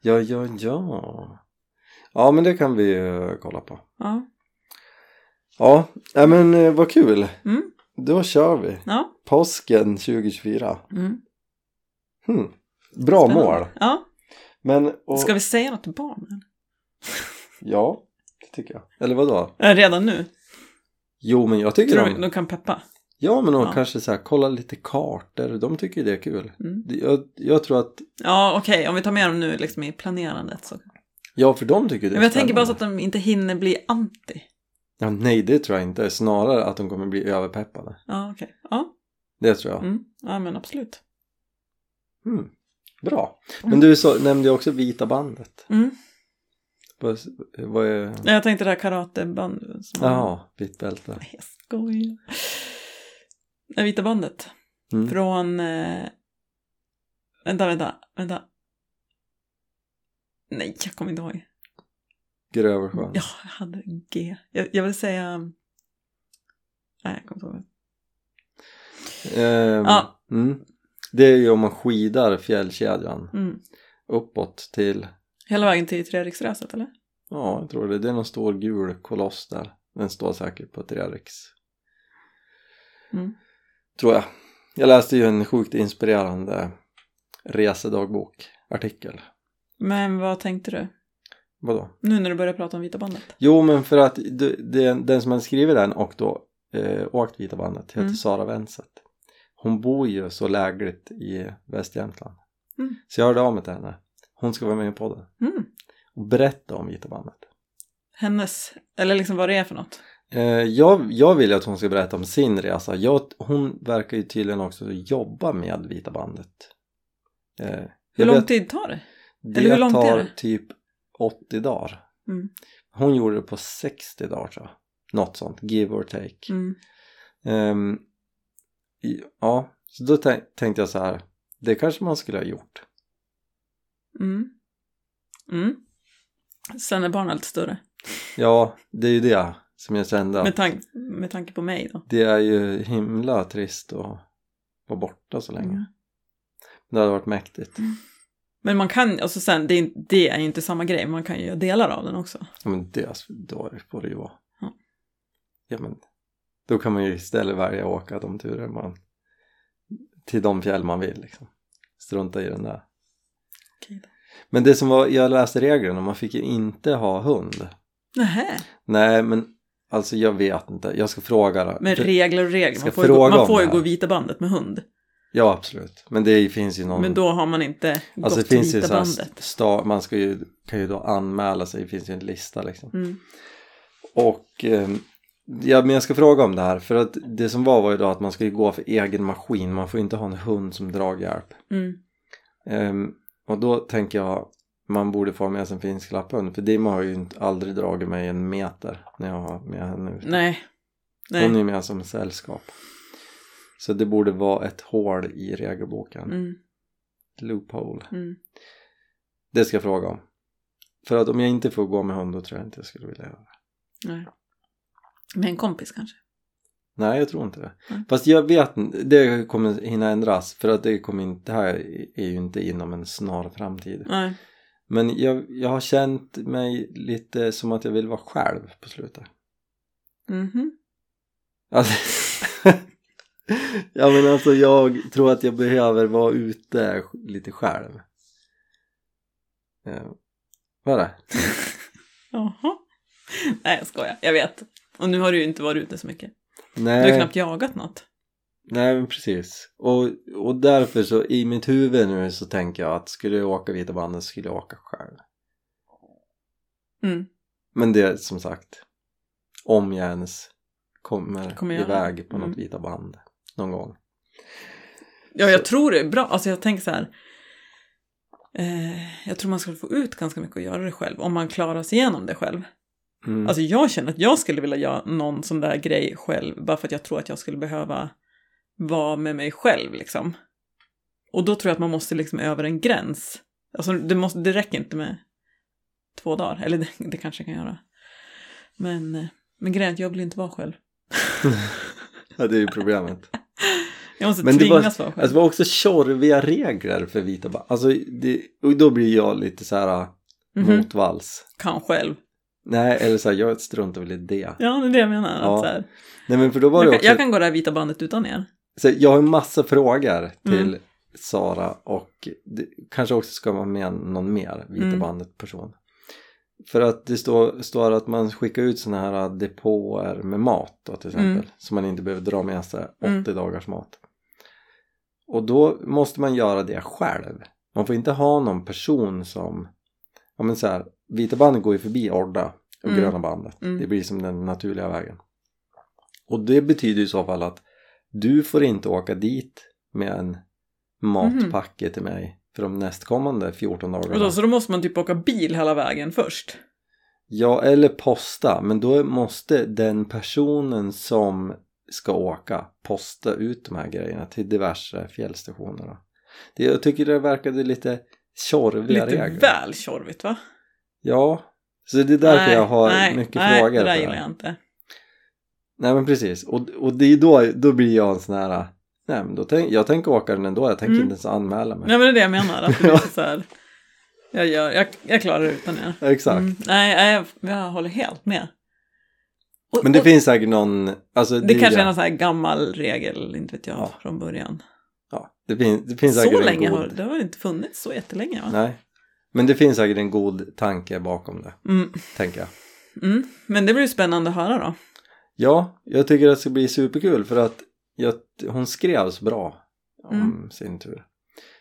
Ja, ja, ja. Ja, men det kan vi eh, kolla på. Ja. Ja, nej men eh, vad kul. Mm. Då kör vi. ja. Påsken 2024. Mm. Hmm. Bra Spännande. mål. Ja. Men och, Ska vi säga något till barnen? ja, det tycker jag. Eller vadå? Äh, Redan nu? Jo, men jag tycker Tror du de... de kan peppa? Ja, men de Ja. kanske så här, kolla lite kartor. De tycker ju det är kul. Mm. Det- Jag, jag tror att... Ja, okej, om vi tar med dem nu liksom i planerandet så. Ja, för de tycker det är Men jag tänker bara så att spännande. de inte hinner bli anti. Ja, nej, det tror jag inte. Snarare att de kommer bli överpeppade. Ja, okej. Ja. Det tror jag. Mm. ja, men absolut. Mm. Bra. Mm. Men du så, nämnde ju också vita bandet. Mm. Vad, vad är... Nej, Jag tänkte det här karateband. som- Jaha, vitt bälte. Nej, *laughs* Jag skojar. Det vita bandet. Mm. Från... Eh... Vänta, vänta, vänta. Nej, jag kommer inte ihåg. Gröversjön. Ja, jag hade G. Jag, jag vill säga... Nej, jag kommer inte ihåg. Ehm, Ja. mm. Det är ju om man skidar fjällkedjan Mm. uppåt till, Hela vägen till Treriksröset, eller? ja jag tror det, det är någon stor gul koloss där. Den står säkert på Treriks. Mm. Tror jag. Jag läste ju en sjukt inspirerande resedagbokartikel. Men vad tänkte du? Vadå? Nu när du börjar prata om vita bandet? Jo men för att du- den, den som hade skrivit den och då eh, åkt Vita bandet heter Mm. Sara Wenset. Hon bor ju så lägligt i Västjämtland. Mm. Så jag hörde av mig till henne. Hon ska vara med i podden Mm. och berätta om gittarbandet. Hennes, eller liksom vad det är för något. Eh, jag, jag vill ju att hon ska berätta om sin resa. Jag, hon verkar ju tydligen också jobba med Vita bandet. Eh, Hur jag lång vet- tid tar det? Det eller hur långt är tar det? typ 80 dagar. Mm. Hon gjorde det på 60 dagar tror jag. Något sånt, give or take. Mm. Ehm, i- ja, så då tän- tänkte jag så här. Det kanske man skulle ha gjort. Mm. Mm. Sen är barnen lite större. Ja, det är ju det som jag kände. Med, Att tan- med tanke på mig då. det är ju himla trist att vara borta så länge. Mm. Det hade varit mäktigt. Men man kan, alltså sen, det är, inte- det är ju inte samma grej, man kan ju göra delar av den också. Ja men det, alltså då får det ju vara. Ja. Ja men då kan man ju istället välja att åka de turer man till de fjäll man vill liksom. Strunta i den där. Okej då. Men det som var, jag läste reglerna, man fick ju inte ha hund. Nähä, Nej men alltså jag vet inte, jag ska fråga då. men För- regler och regler. Ska Man får ju, gå, fråga om man får det ju här. gå vita bandet med hund. Ja absolut, men det finns ju någon... Men då har man inte alltså det gått finns ju vita så här, bandet. sta, man ska ju, kan ju då anmäla sig, det finns ju en lista liksom. Mm. Och eh, ja, men jag ska fråga om det här för att det som var var ju då att man ska ju gå för egen maskin. Man får inte ha en hund som draghjälp. Mm. Eh, och då tänker jag man borde få med sig en finsk lapphund för Dimma har ju inte, aldrig dragit mig en meter när jag har med henne ute. Nej. Nej. Hon är ju med som sällskap. Så det borde vara ett hål i regelboken. Mm. Loophole. Mm. Det ska jag fråga om. För att om jag inte får gå med hund då tror jag inte jag skulle vilja göra det. Nej. Med en kompis kanske. Nej, jag tror inte det. Nej. Fast jag vet inte, det kommer hinna ändras för att det kommer inte, det här är ju inte inom en snar framtid. Nej. Men jag, jag har känt mig lite som att jag vill vara själv på slutet. Mhm. Alltså, *laughs* ja men alltså jag tror att jag behöver vara ute lite själv. Eh, vad är det? Jaha. Nej, jag skojar. Jag vet. Och nu har du ju inte varit ute så mycket. Du har Nej, knappt jagat något. nej men precis. Och, och därför så i mitt huvud nu så tänker jag att skulle jag åka Vita bandet så skulle jag åka själv. Mm. Men det är som sagt om jag ens kommer, Kommer göra det. iväg på något Mm. vita band någon gång. Ja, jag tror det är bra. Alltså jag tänker så här. Eh, jag tror man skulle få ut ganska mycket att göra det själv om man klarar sig igenom det själv. Mm. Alltså jag känner att jag skulle vilja göra någon sån där grej själv bara för att jag tror att jag skulle behöva vara med mig själv liksom. Och då tror jag att man måste liksom över en gräns. Alltså det, måste, det räcker inte med två dagar, eller det, det kanske jag kan göra. Men, eh, men grejen är att jag vill inte vara själv. ja, det är ju *laughs* problemet. Jag måste Men det var, tvingas vara alltså, själv. det var också tjorviga regler för vita band. Alltså, det, och då blir jag lite så här äh, Mhm. Mm. motvalls. Kan själv. Nej, eller så här, jag struntar väl i det. Ja, det är det jag menar. Ja, att så här, Nej, men för då var jag, det kan, också... jag kan gå det här vita bandet utan er. Så jag har en massa frågor till Mm. Sara och det, kanske också ska man med någon mer Vita Mm. bandet person. För att det står, står att man skickar ut sådana här depåer med mat då, till exempel. Mm. Som man inte behöver dra med sig 80 Mm. dagars mat. Och då måste man göra det själv. Man får inte ha någon person som, ja men så här, Vita bandet går ju förbi Orda och Mm. Gröna bandet. Mm. Det blir som den naturliga vägen. Och det betyder i så fall att du får inte åka dit med en matpacke till mig för de nästkommande 14 dagarna. Och då, Mhm. så då måste man typ åka bil hela vägen först. Ja, eller posta, men då måste den personen som ska åka posta ut de här grejerna till diverse fjällstationer. då. Det, jag tycker det verkade lite tjorviga Lite regler. väl tjorvigt va? Ja, så det är därför jag har nej, mycket nej, frågor. det på där det gillar här. jag inte. Nej men precis, och, och det är då, då blir jag en sån här, nej men då tänk, jag tänker åka den ändå, jag tänker Mm. inte ens anmäla mig. Nej men det är det jag menar, att det *laughs* blir så här, jag, gör, jag, jag klarar det utan er. Exakt. Mm, nej, nej, jag, jag håller helt med. Och, Men det och, finns säkert någon, alltså det är kanske ju- är någon sån här gammal regel, inte vet jag, Ja. från början. ja, det finns, det finns säkert Så länge en god, har det har inte funnits så jättelänge va? Nej, men det finns säkert en god tanke bakom det, Mm, tänker jag. mm. Men det blir ju spännande att höra då. Ja, jag tycker att det ska bli superkul för att jag, hon skrevs bra om Mm. sin tur.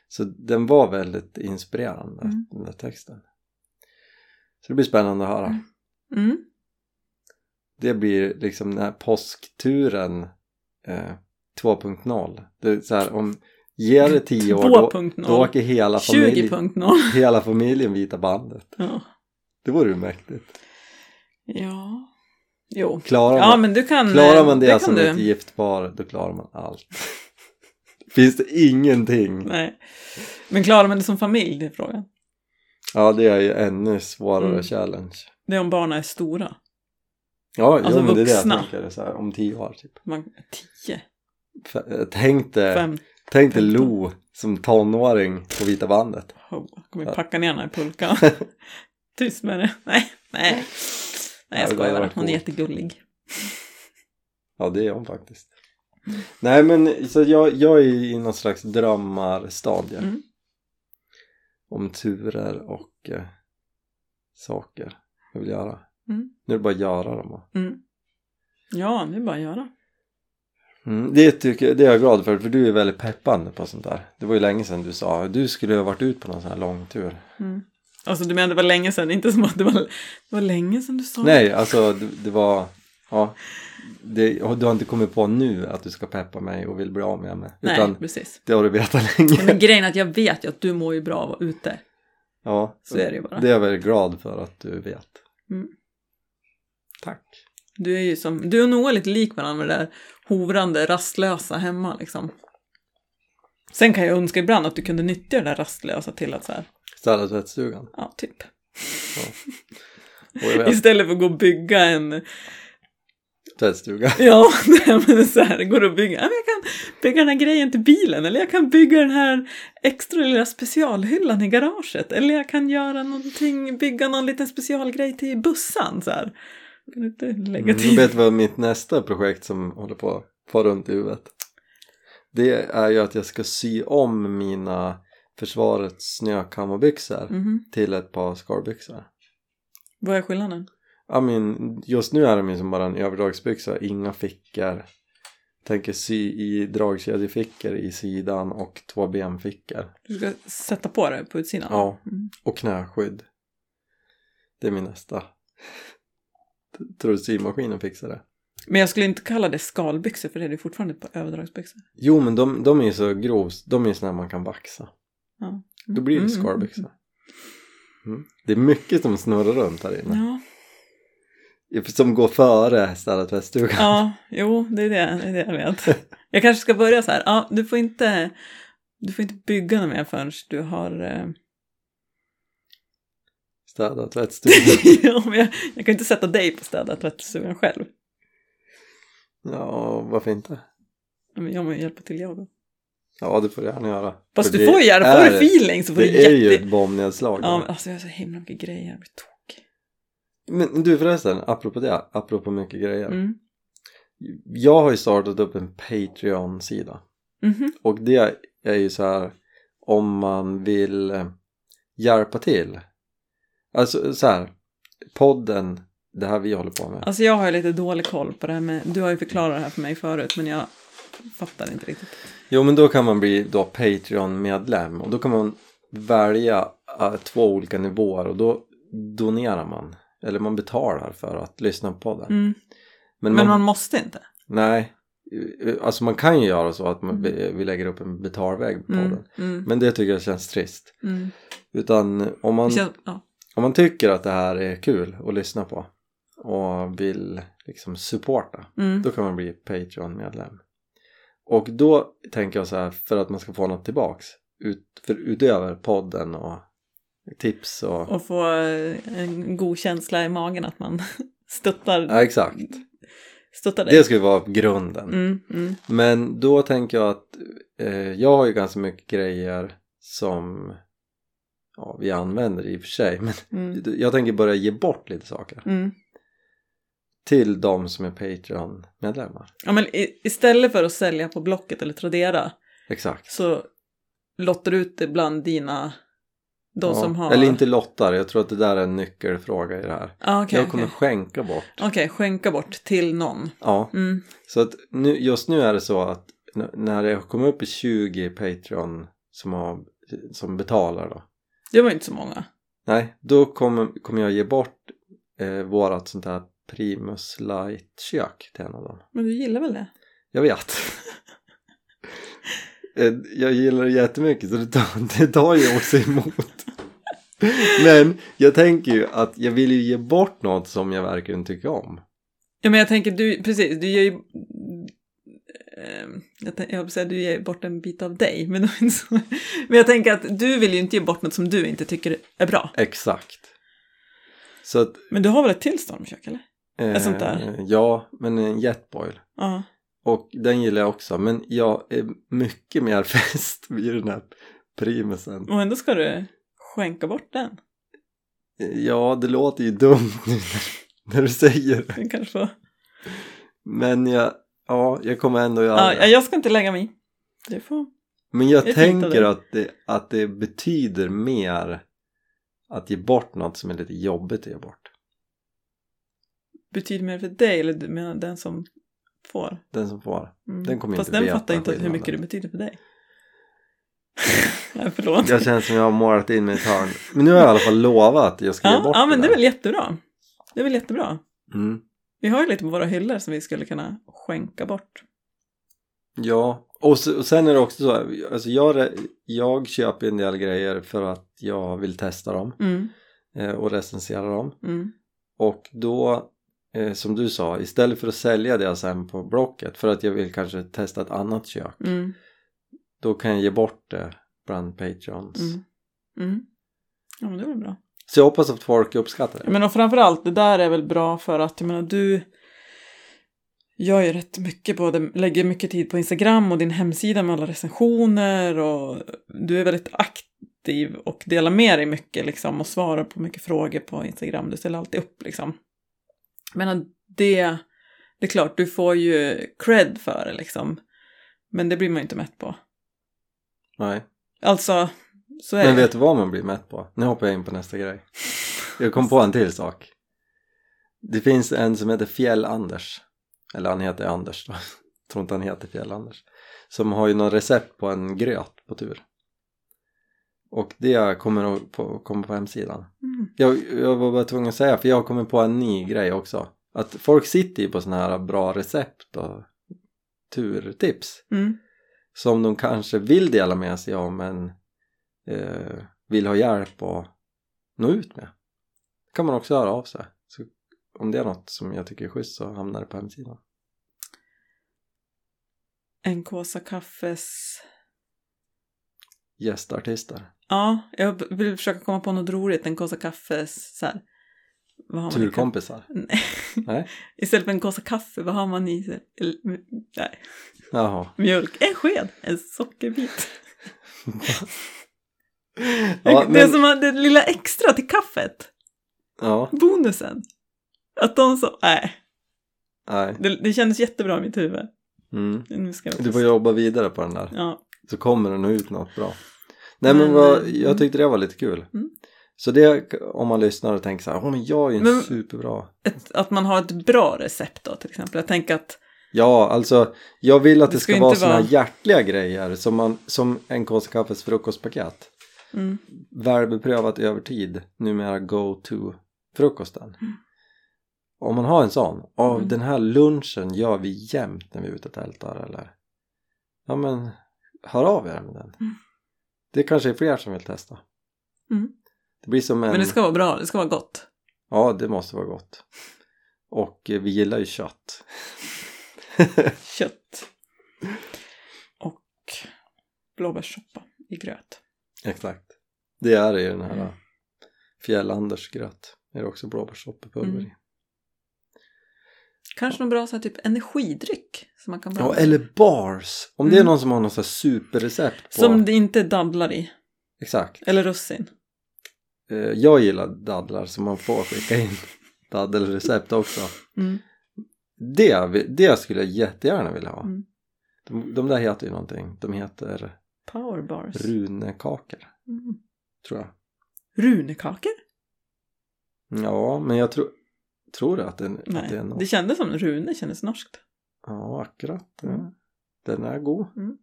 Så den var väldigt inspirerande, Mm. den där texten. Så det blir spännande att höra. Mm. Mm. Det blir liksom den här påskturen eh, 2.0. Det är så här, om ger det 10 år då, 2.0. då åker hela familjen, 20.0. hela familjen Vita bandet. Ja. Det vore ju mäktigt. ja. Jo. Klarar man, Ja, men du kan... eh, klarar man det, kan som du. ett gift par, då klarar man allt. *laughs* Finns det ingenting? Nej. Men klarar man det som familj, det är frågan. Ja, det är ju ännu svårare Mm. challenge. Det är om barnen är stora. Ja, Alltså jo, men det är det jag vuxna. tänker. Så här, om tio år typ. Man, 10, F- eh, Tänk dig, 5, tänk dig femton. Lo som tonåring på Vita bandet. oh, kommer ju packa ner henne i *laughs* pulkan. Tyst med det. Nej, nej. Nej, Ja, jag det hade skojar bara. varit Hon är coolt. jättegullig. Ja, det är hon faktiskt. Nej, men så jag, jag är i någon slags drömmarstadie. Mm. Om turer och eh, saker jag vill göra. Mm. Nu är det bara att göra dem. va? Mm. Ja, det är bara att göra. Mm, det, tycker, jag- det är jag glad för, för du är väldigt peppande på sånt där. Det var ju länge sedan du sa du skulle ha varit ut på någon sån här långtur. Mm. Alltså du menar det var länge sedan, inte som att det var, det var länge sedan du sa Nej, alltså det, det var... Ja, det, och du har inte kommit på nu att du ska peppa mig och vill bli av med mig. Nej, Utan precis. det har du vetat länge. Men grejen är att jag vet ju att du mår ju bra av att vara ute. Ja, Så är det ju bara. Det är jag väldigt glad för att du vet. Mm. Tack. Du är ju som, du och Noah är lite lik varandra med det där hovrande, rastlösa hemma liksom. Sen kan jag önska ibland att du kunde nyttja det där rastlösa till att så här, Städa tvättstugan. ja, typ. Och jag vet, Istället för att gå och bygga en, tvättstuga. ja, *laughs* nej, men så här, går och bygga, ja, men jag kan bygga den här grejen till bilen, eller jag kan bygga den här extra lilla specialhyllan i garaget, eller jag kan göra någonting, bygga någon liten specialgrej till bussan så här. Kan du inte lägga Mm, till? du vet vad mitt nästa projekt som håller på att fara runt i huvudet. Det är ju att jag ska sy om mina försvarets snökammarbyxor Mhm. till ett par skarbyxor. Vad är skillnaden? Ja men just nu är de ju som bara en överdragsbyxa, inga fickor. Tänker sy i dragkedjefickor i sidan och två benfickor. Du ska sätta på det på utsidan? Ja. Mm. Och knäskydd. Det är min nästa. Tror du symaskinen fixar det? Men jag skulle inte kalla det skalbyxor för det är det fortfarande på överdragsbyxor. Jo men de, de är ju så grov, de är ju såna här man kan vaxa. Mm. Då blir det Mm, skarbyxor. Mm. Det är mycket som snurrar runt här mm, inne. mm. Som går före städat tvättstugan. Ja, *laughs* ja, jo, det är det, det är det jag vet. Jag kanske ska börja så här, ja, du får inte, du får inte bygga något mer förrän du har... Eh... *laughs* Städat tvättstugan. ja, men jag, jag kan inte sätta dig på städa tvättstugan själv. ja, varför inte? Men jag må ju hjälpa till jag då. Ja, det får du gärna göra. Fast För du får ju göra, är- får du feeling så får Det du är ju jätte... ett bombnedslag. Ja, men alltså jag har så himla mycket grejer, jag blir tokig. Men du förresten, apropå det, apropå mycket grejer. Mm. Jag har ju startat upp en Patreon-sida. Mhm. Och det är ju så här om man vill eh, hjälpa till. Alltså så här, podden, det här vi håller på med. Alltså jag har ju lite dålig koll på det här med, du har ju förklarat det här för mig förut men jag fattar inte riktigt. Jo men då kan man bli då Patreon-medlem och då kan man välja eh, två olika nivåer och då donerar man. Eller man betalar för att lyssna på podden. Mm. Men, Men, man, man måste inte. Nej, alltså man kan ju göra så att man, Mm. vi lägger upp en betalväg på Mm. den. Mm. Men det tycker jag känns trist. Mm. Utan eh, om man, Det känns, ja. om man tycker att det här är kul att lyssna på och vill liksom supporta, mm. då kan man bli Patreon-medlem. Och då tänker jag så här, för att man ska få något tillbaks, ut, för utöver podden och tips och... Och få eh, en god känsla i magen att man *laughs* stöttar, Ja, exakt. stöttar dig. Det ska ju vara grunden. Mm. Mm. Men då tänker jag att eh, jag har ju ganska mycket grejer som ja, vi använder i och för sig. Men Mm. jag tänker börja ge bort lite saker Mm. till de som är Patreon-medlemmar. Ja, men i, istället för att sälja på Blocket eller Tradera Exakt. så lottar du ut det bland dina De Ja. som har... Eller inte lottar, jag tror att det där är en nyckelfråga i det här. Ah, Okej, jag kommer okej. skänka bort. Okej, skänka bort till någon. Ja, Mm. så att nu, just nu är det så att n- när jag kommer upp i 20 Patreon som, har, som betalar då. Det var ju inte så många. Nej, då kommer, kommer jag ge bort eh, vårat sånt här Primus Light-kök till en av dem. Men du gillar väl det? Jag vet. *laughs* Eh, jag gillar det jättemycket så det tar, *laughs* det tar ju också emot. *laughs* Men jag tänker ju att jag vill ju ge bort något som jag verkligen tycker om. Ja, men jag tänker, du, precis, du ger ju... Ehm, Jag tän- jag höll på att säga, du ger bort en bit av dig, men, *laughs* det var inte så. men jag tänker att du vill ju inte ge bort något som du inte tycker är bra. Exakt. Så att... Men du har väl ett till stormkök, eller? eh, Ett sånt där? Ja, men en jetboil. Ja. Och den gillar jag också. Men jag är mycket mer *laughs* fäst vid den här primusen. Och ändå ska du skänka bort den. Ja, det låter ju dumt nu när- när du säger det. Du kanske får... Men jag, ja, jag kommer ändå göra ja, ja, det. jag ska inte lägga mig i. Du får... Men jag det är fint av tänker dig. att det, att det betyder mer att ge bort något som är lite jobbigt att ge bort. Betyder mer för dig, eller du menar den som får? Den som får. Mm. Den kommer Fast inte den veta fattar inte hur skillnaden. mycket det betyder för dig. *laughs* Nej, förlåt. Jag känner som jag har målat in mig i ett hörn. Men nu har jag i alla fall lovat att jag ska ge Ja, bort ja men det där. är väl jättebra. Det är väl jättebra. mm. Vi har ju lite på våra hyllor som vi skulle kunna skänka bort. Ja, och, så, och sen är det också så. här, Alltså jag, re- jag köper ju en del grejer för att jag vill testa dem Mm, eh, och recensera dem. mm, Och då, eh, som du sa, istället för att sälja det sen på Blocket för att jag vill kanske testa ett annat kök. mm, Då kan jag ge bort det bland Patreons. mm, mm. Ja, men det var bra. Så jag hoppas att folk uppskattar det. Men och framförallt, det där är väl bra för att, jag menar, du gör ju rätt mycket, både, lägger mycket tid på Instagram och din hemsida med alla recensioner och du är väldigt aktiv och delar med dig mycket liksom och svarar på mycket frågor på Instagram. Du ställer alltid upp liksom. Men det, det är klart, du får ju cred för det liksom. Men det blir man ju inte mätt på. Nej. Alltså, så är Men det. vet du vad man blir mätt på? Nu hoppar jag in på nästa grej. Jag kom på en till sak. Det finns en som heter Fjäll-Anders. Eller han heter Anders då. *laughs* Jag tror inte han heter Fjäll-Anders. Som har ju någon recept på en gröt på tur. Och det kommer att på- komma på hemsidan. Mm. Jag, jag var bara tvungen att säga för jag har kommit på en ny grej också. Att folk sitter ju på såna här bra recept och turtips. Mm. Som de kanske vill dela med sig av men eh, vill ha hjälp att nå ut med. Det kan man också höra av sig. Så om det är något som jag tycker är schysst så hamnar det på hemsidan. En kåsa kaffes Gästartister. Ja, jag vill försöka komma på något roligt. En Kåsa kaffe, så här. Vad har man i kaffe? Turkompisar. Nej. Nej. Istället för en Kåsa kaffe, vad har man i sig? Eller, Nej, Jaha. mjölk. En sked, en sockerbit. *laughs* Ja, *laughs* Det är men, som att det lilla extra till kaffet, ja, bonusen. Att de som, nej, nej. det, det kändes jättebra i mitt huvud. Mm. Nu ska jag Du får jobba vidare på den där. Ja, så kommer den nå ut något bra. Nej men Men, vad, eh, jag tyckte det var lite kul. Mm. Så det, om man lyssnar och tänker så här, åh men jag är ju Men- men... superbra. ett, att man har ett bra recept då till exempel. Jag tänker att, Ja, alltså jag vill att Det det, ska ska, ju vara inte såna vara- här hjärtliga grejer som, man, som en Kåsa Kaffes frukostpaket. mm, Välbeprövat över tid, numera go-to-frukosten. Om man har en sån, av Mm. den här lunchen gör vi jämt när vi är ute och tältar eller ja men hör av er med den. Mm. Det kanske är fler som vill testa. Mm. Det blir som en... men det ska vara bra, det ska vara gott. Ja, det måste vara gott. Och eh, vi gillar ju kött. kött och blåbärssoppa i gröt. Exakt. Det är det i den här Mm. mm. Fjällanders gröt. Det är också blåbärssoppepulver Mm. i. Kanske någon bra så här, typ energidryck som man kan blanda. Ja, eller bars. Om det är Mm. någon som har något så här superrecept på. Som det inte dadlar i. Exakt. Eller russin. Eh, Jag gillar dadlar så man får skicka in *laughs* daddelrecept också. Mm. Det, vill- det skulle jag jättegärna vilja ha. Mm. De, de där heter ju någonting. De heter Powerbars. runekakor, Mm. tror jag. runekakor? Ja, men jag tror... Tror du att den Nej, att det är det något? kändes som rune, kändes norskt. Ja, akkurat. Mm. Den är god. Mm.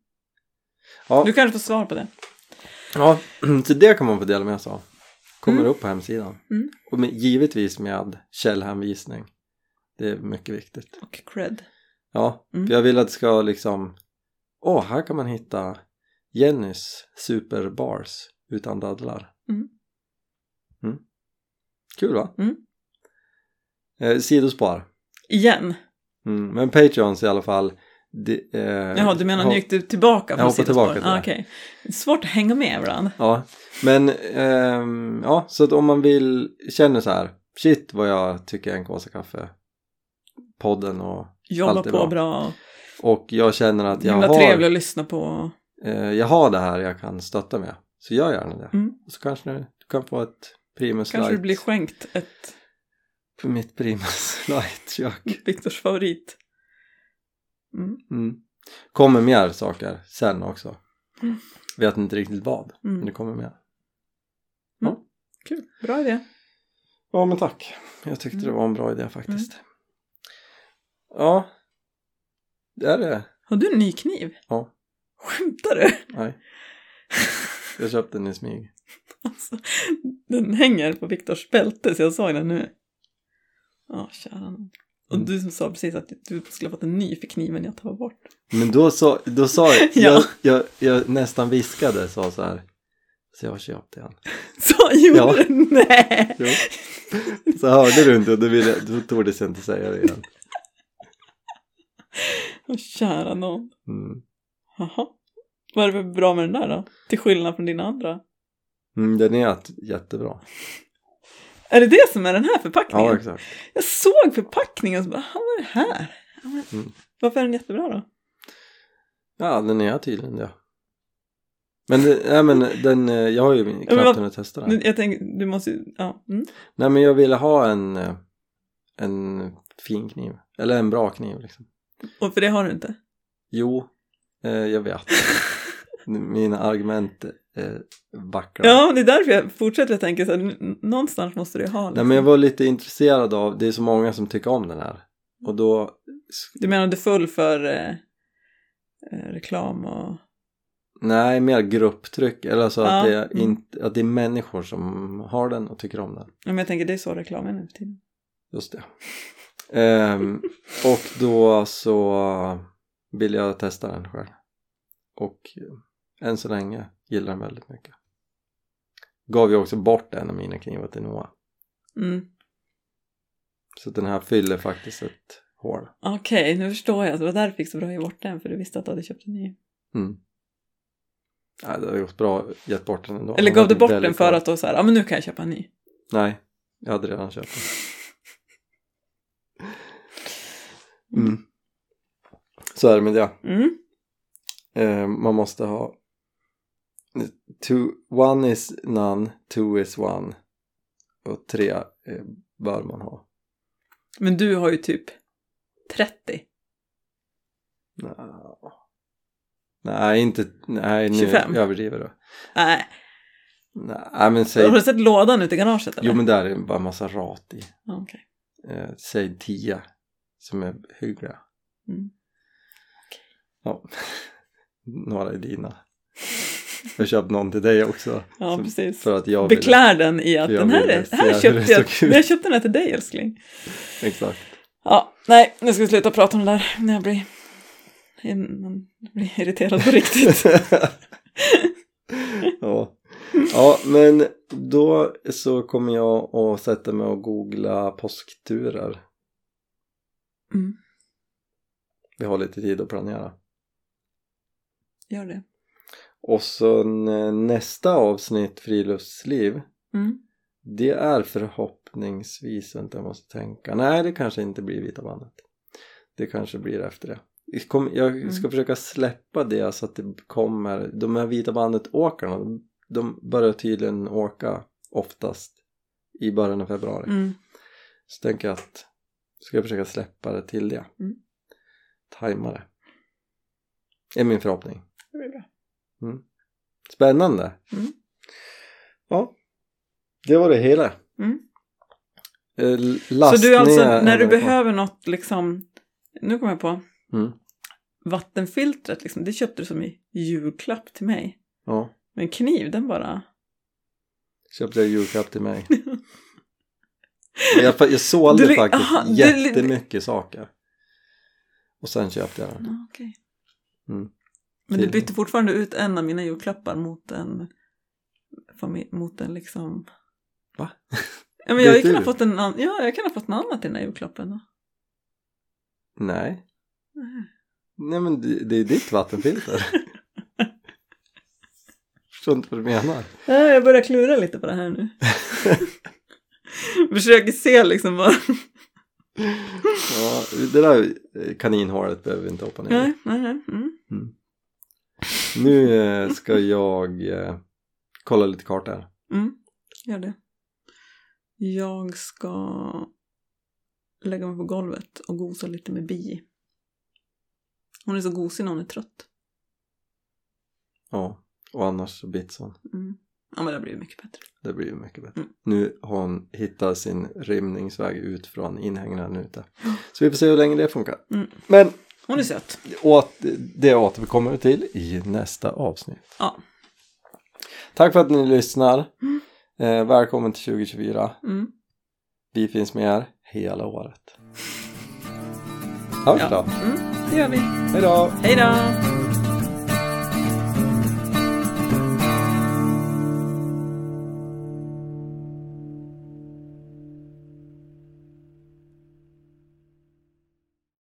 Ja, Du kanske får svar på det. ja, *clears throat* så det kan man få dela med sig av. Kommer Mm. upp på hemsidan. Mm. Och med, givetvis med källhänvisning. Det är mycket viktigt. Och cred. Ja, Mm. för jag vill att det ska liksom... Åh, här kan man hitta Jennys superbars utan dadlar. Mm. Mm. Kul va? Mm. Eh, sidospar. Igen. Mm. Men Patreons i alla fall. Det, eh, Jaha, du menar har- nu gick du tillbaka Jag från hoppar sidospåret? tillbaka till det. Ah, okej. Det är Svårt att hänga med ibland. Ja, men ehm, ja, så att om man vill känner så här, shit vad jag tycker en kåsa kaffe podden och, Jobba Alltid på bra. bra, bra och jag känner att jag himla har, trevlig att lyssna på. eh, jag har det här jag kan stötta med. Så gör gärna det. Mm. Och så kanske du, du kan få ett Primus Kanske Light. du blir skänkt ett på mitt Primus *laughs* Light-kök. Viktors favorit. Mm. Mm. Kommer mer saker sen också. Mm. Vet inte riktigt vad, men det Mm. kommer mer. Kul, bra idé. Ja men tack. Jag tyckte det Mm. var en bra idé faktiskt. Ja. Det är det. Har du en ny kniv? Ja. Skämtar du? Nej. Jag köpte den i smyg. Alltså, den hänger på Viktors bälte så jag såg den nu. Ja, kära nån. Och Mm. du som sa precis att du skulle ha fått en ny för kniven jag tar bort. *laughs* Men då sa, då sa jag, Ja. jag, jag, jag nästan viskade sa så här. Så jag har köpt den. Så gjorde Ja. du? Nej! *laughs* Jo. Så hörde du inte och då, ville, då tog det sig inte säga det igen. Åh, kära nån. Mm. Jaha. Vad är det för bra med den där då? Till skillnad från dina andra? Mm, den är att- jättebra. Är det det som är den här Ja förpackningen? exakt. Jag såg förpackningen och så bara, "Ah, vad är det här? Ja, men- Mm. Varför är den jättebra då? Ja den är tydligen det. Men, det, nej, men den, eh, jag har ju knappt men vad- hunnit testa den. Nu- Jag tänker, du måste ju, ja. Mm. Nej men jag ville ha en, eh, en fin kniv. Eller en bra kniv liksom. Och för det har du inte. Jo, eh, jag *laughs* vet. Mina argument eh, vacklar. Ja, det är därför jag fortsätter att tänka så här, n- någonstans måste du ju ha Nej liksom. men jag var lite intresserad av, det är så många som tycker om den här. Och då, Du menar du är full för eh, eh, reklam och... nej mer grupptryck. Eller så att, Ja, det är mm. inte, att det är människor som har den och tycker om den. Ja, men jag tänker det är så reklam är nu för tiden. Just det. Ehm, och då så vill jag testa den själv. Och eh, än så länge gillar den väldigt mycket. Gav jag också bort en av mina knivar till Noah. Mm. Så den här fyller faktiskt ett hål. Okej, nu förstår jag. Så Det var därför jag fick så bra i bort den, för du visste att du hade köpt en ny. Mm. Nej, det har gjort bra gett bort den ändå. Eller Den gav hade du bort den delikat- för att då så här, ja men nu kan jag köpa en ny. Nej, jag hade redan köpt *laughs* den. Mm. Så är det med det. Mm. Eh, man måste ha two, one is none, two is one och tre eh, bör man ha. Men du har ju typ 30, Nja. Nej, inte, nej nu 25. överdriver du. nej. Nej, men Har du säg, sett lådan ute i garaget eller? jo men där är bara massa rat i. Ja, okej. Eh, säg tio som är hyggliga. Mm. Ja, *laughs* några är dina. Jag köpte någon till dig också. Ja, som- precis. För att jag ville- Beklär den i att Jag den här ville är, se det här hur köpte det jag, såg ut. jag köpte den här till dig älskling. Exakt. Ja, nej, nu ska vi sluta prata om det där när jag blir, innan jag blir irriterad *laughs* på riktigt. ja. ja, men då så kommer jag att sätta mig och googla påskturer. Mm. Vi har lite tid att planera. Gör det. Och så n- nästa avsnitt, friluftsliv, Mm. det är förhoppningsvis, vänta jag måste tänka, nej det kanske inte blir Vita bandet. Det kanske blir efter det. Jag kom- Jag ska Mm. försöka släppa det så att det kommer, de här Vita bandet-åkarna, de- de börjar tydligen åka oftast i början av februari. Mm. Så tänker jag att ska jag försöka släppa det till det. Mm. Tajma det. är min förhoppning. Mm. Det blir bra. Spännande! Mm. Ja. Det var det hela. Mm. Eh, Lastning så du alltså, när du eller vad? behöver något liksom, nu kommer jag på, Mm. vattenfiltret liksom, det köpte du som i julklapp till mig. Ja, Men kniv, den bara... köpte jag julklapp till mig. jag, fa- jag sålde Du li- faktiskt aha, du li- jättemycket saker. Och sen köpte jag den. Ja, okej. Mm. Men du Tydligen. bytte fortfarande ut en av mina julklappar mot en... fami- Mot en liksom... Va? *laughs* Ja, men jag har ju Bytte kunnat du? fått en annan... Ja, jag kan ha fått något annat i den här julklappen. då. Nej. Nej. Nej men det, det är ditt *laughs* vattenfilter. Förstår inte vad du menar. Ja, jag börjar klura lite på det *laughs* här nu. *laughs* Försöker se liksom vad... Ja, det där kaninhålet behöver vi inte hoppa ner i. Nej, nej, nej. Mm. Nu eh, ska jag eh, kolla lite kartor. Mm. Gör det. Jag ska lägga mig på golvet och gosa lite med Bi. Hon är så gosig när hon är trött. Ja, och annars så bits hon. Mm. Ja, men det blir mycket bättre. Det blir ju mycket bättre. Mm. Nu har hon hittat sin rymningsväg ut från inhägnaden ute. Så vi får se hur länge det funkar. Mm. Men Hon är söt. åt, det återkommer vi till i nästa avsnitt. Ja. Tack för att ni lyssnar. Mm. Eh, välkommen till 2024. Mm. Vi finns med er hela året. Hörs Ja. då. Mm. Det gör vi. Hej då! Hej då!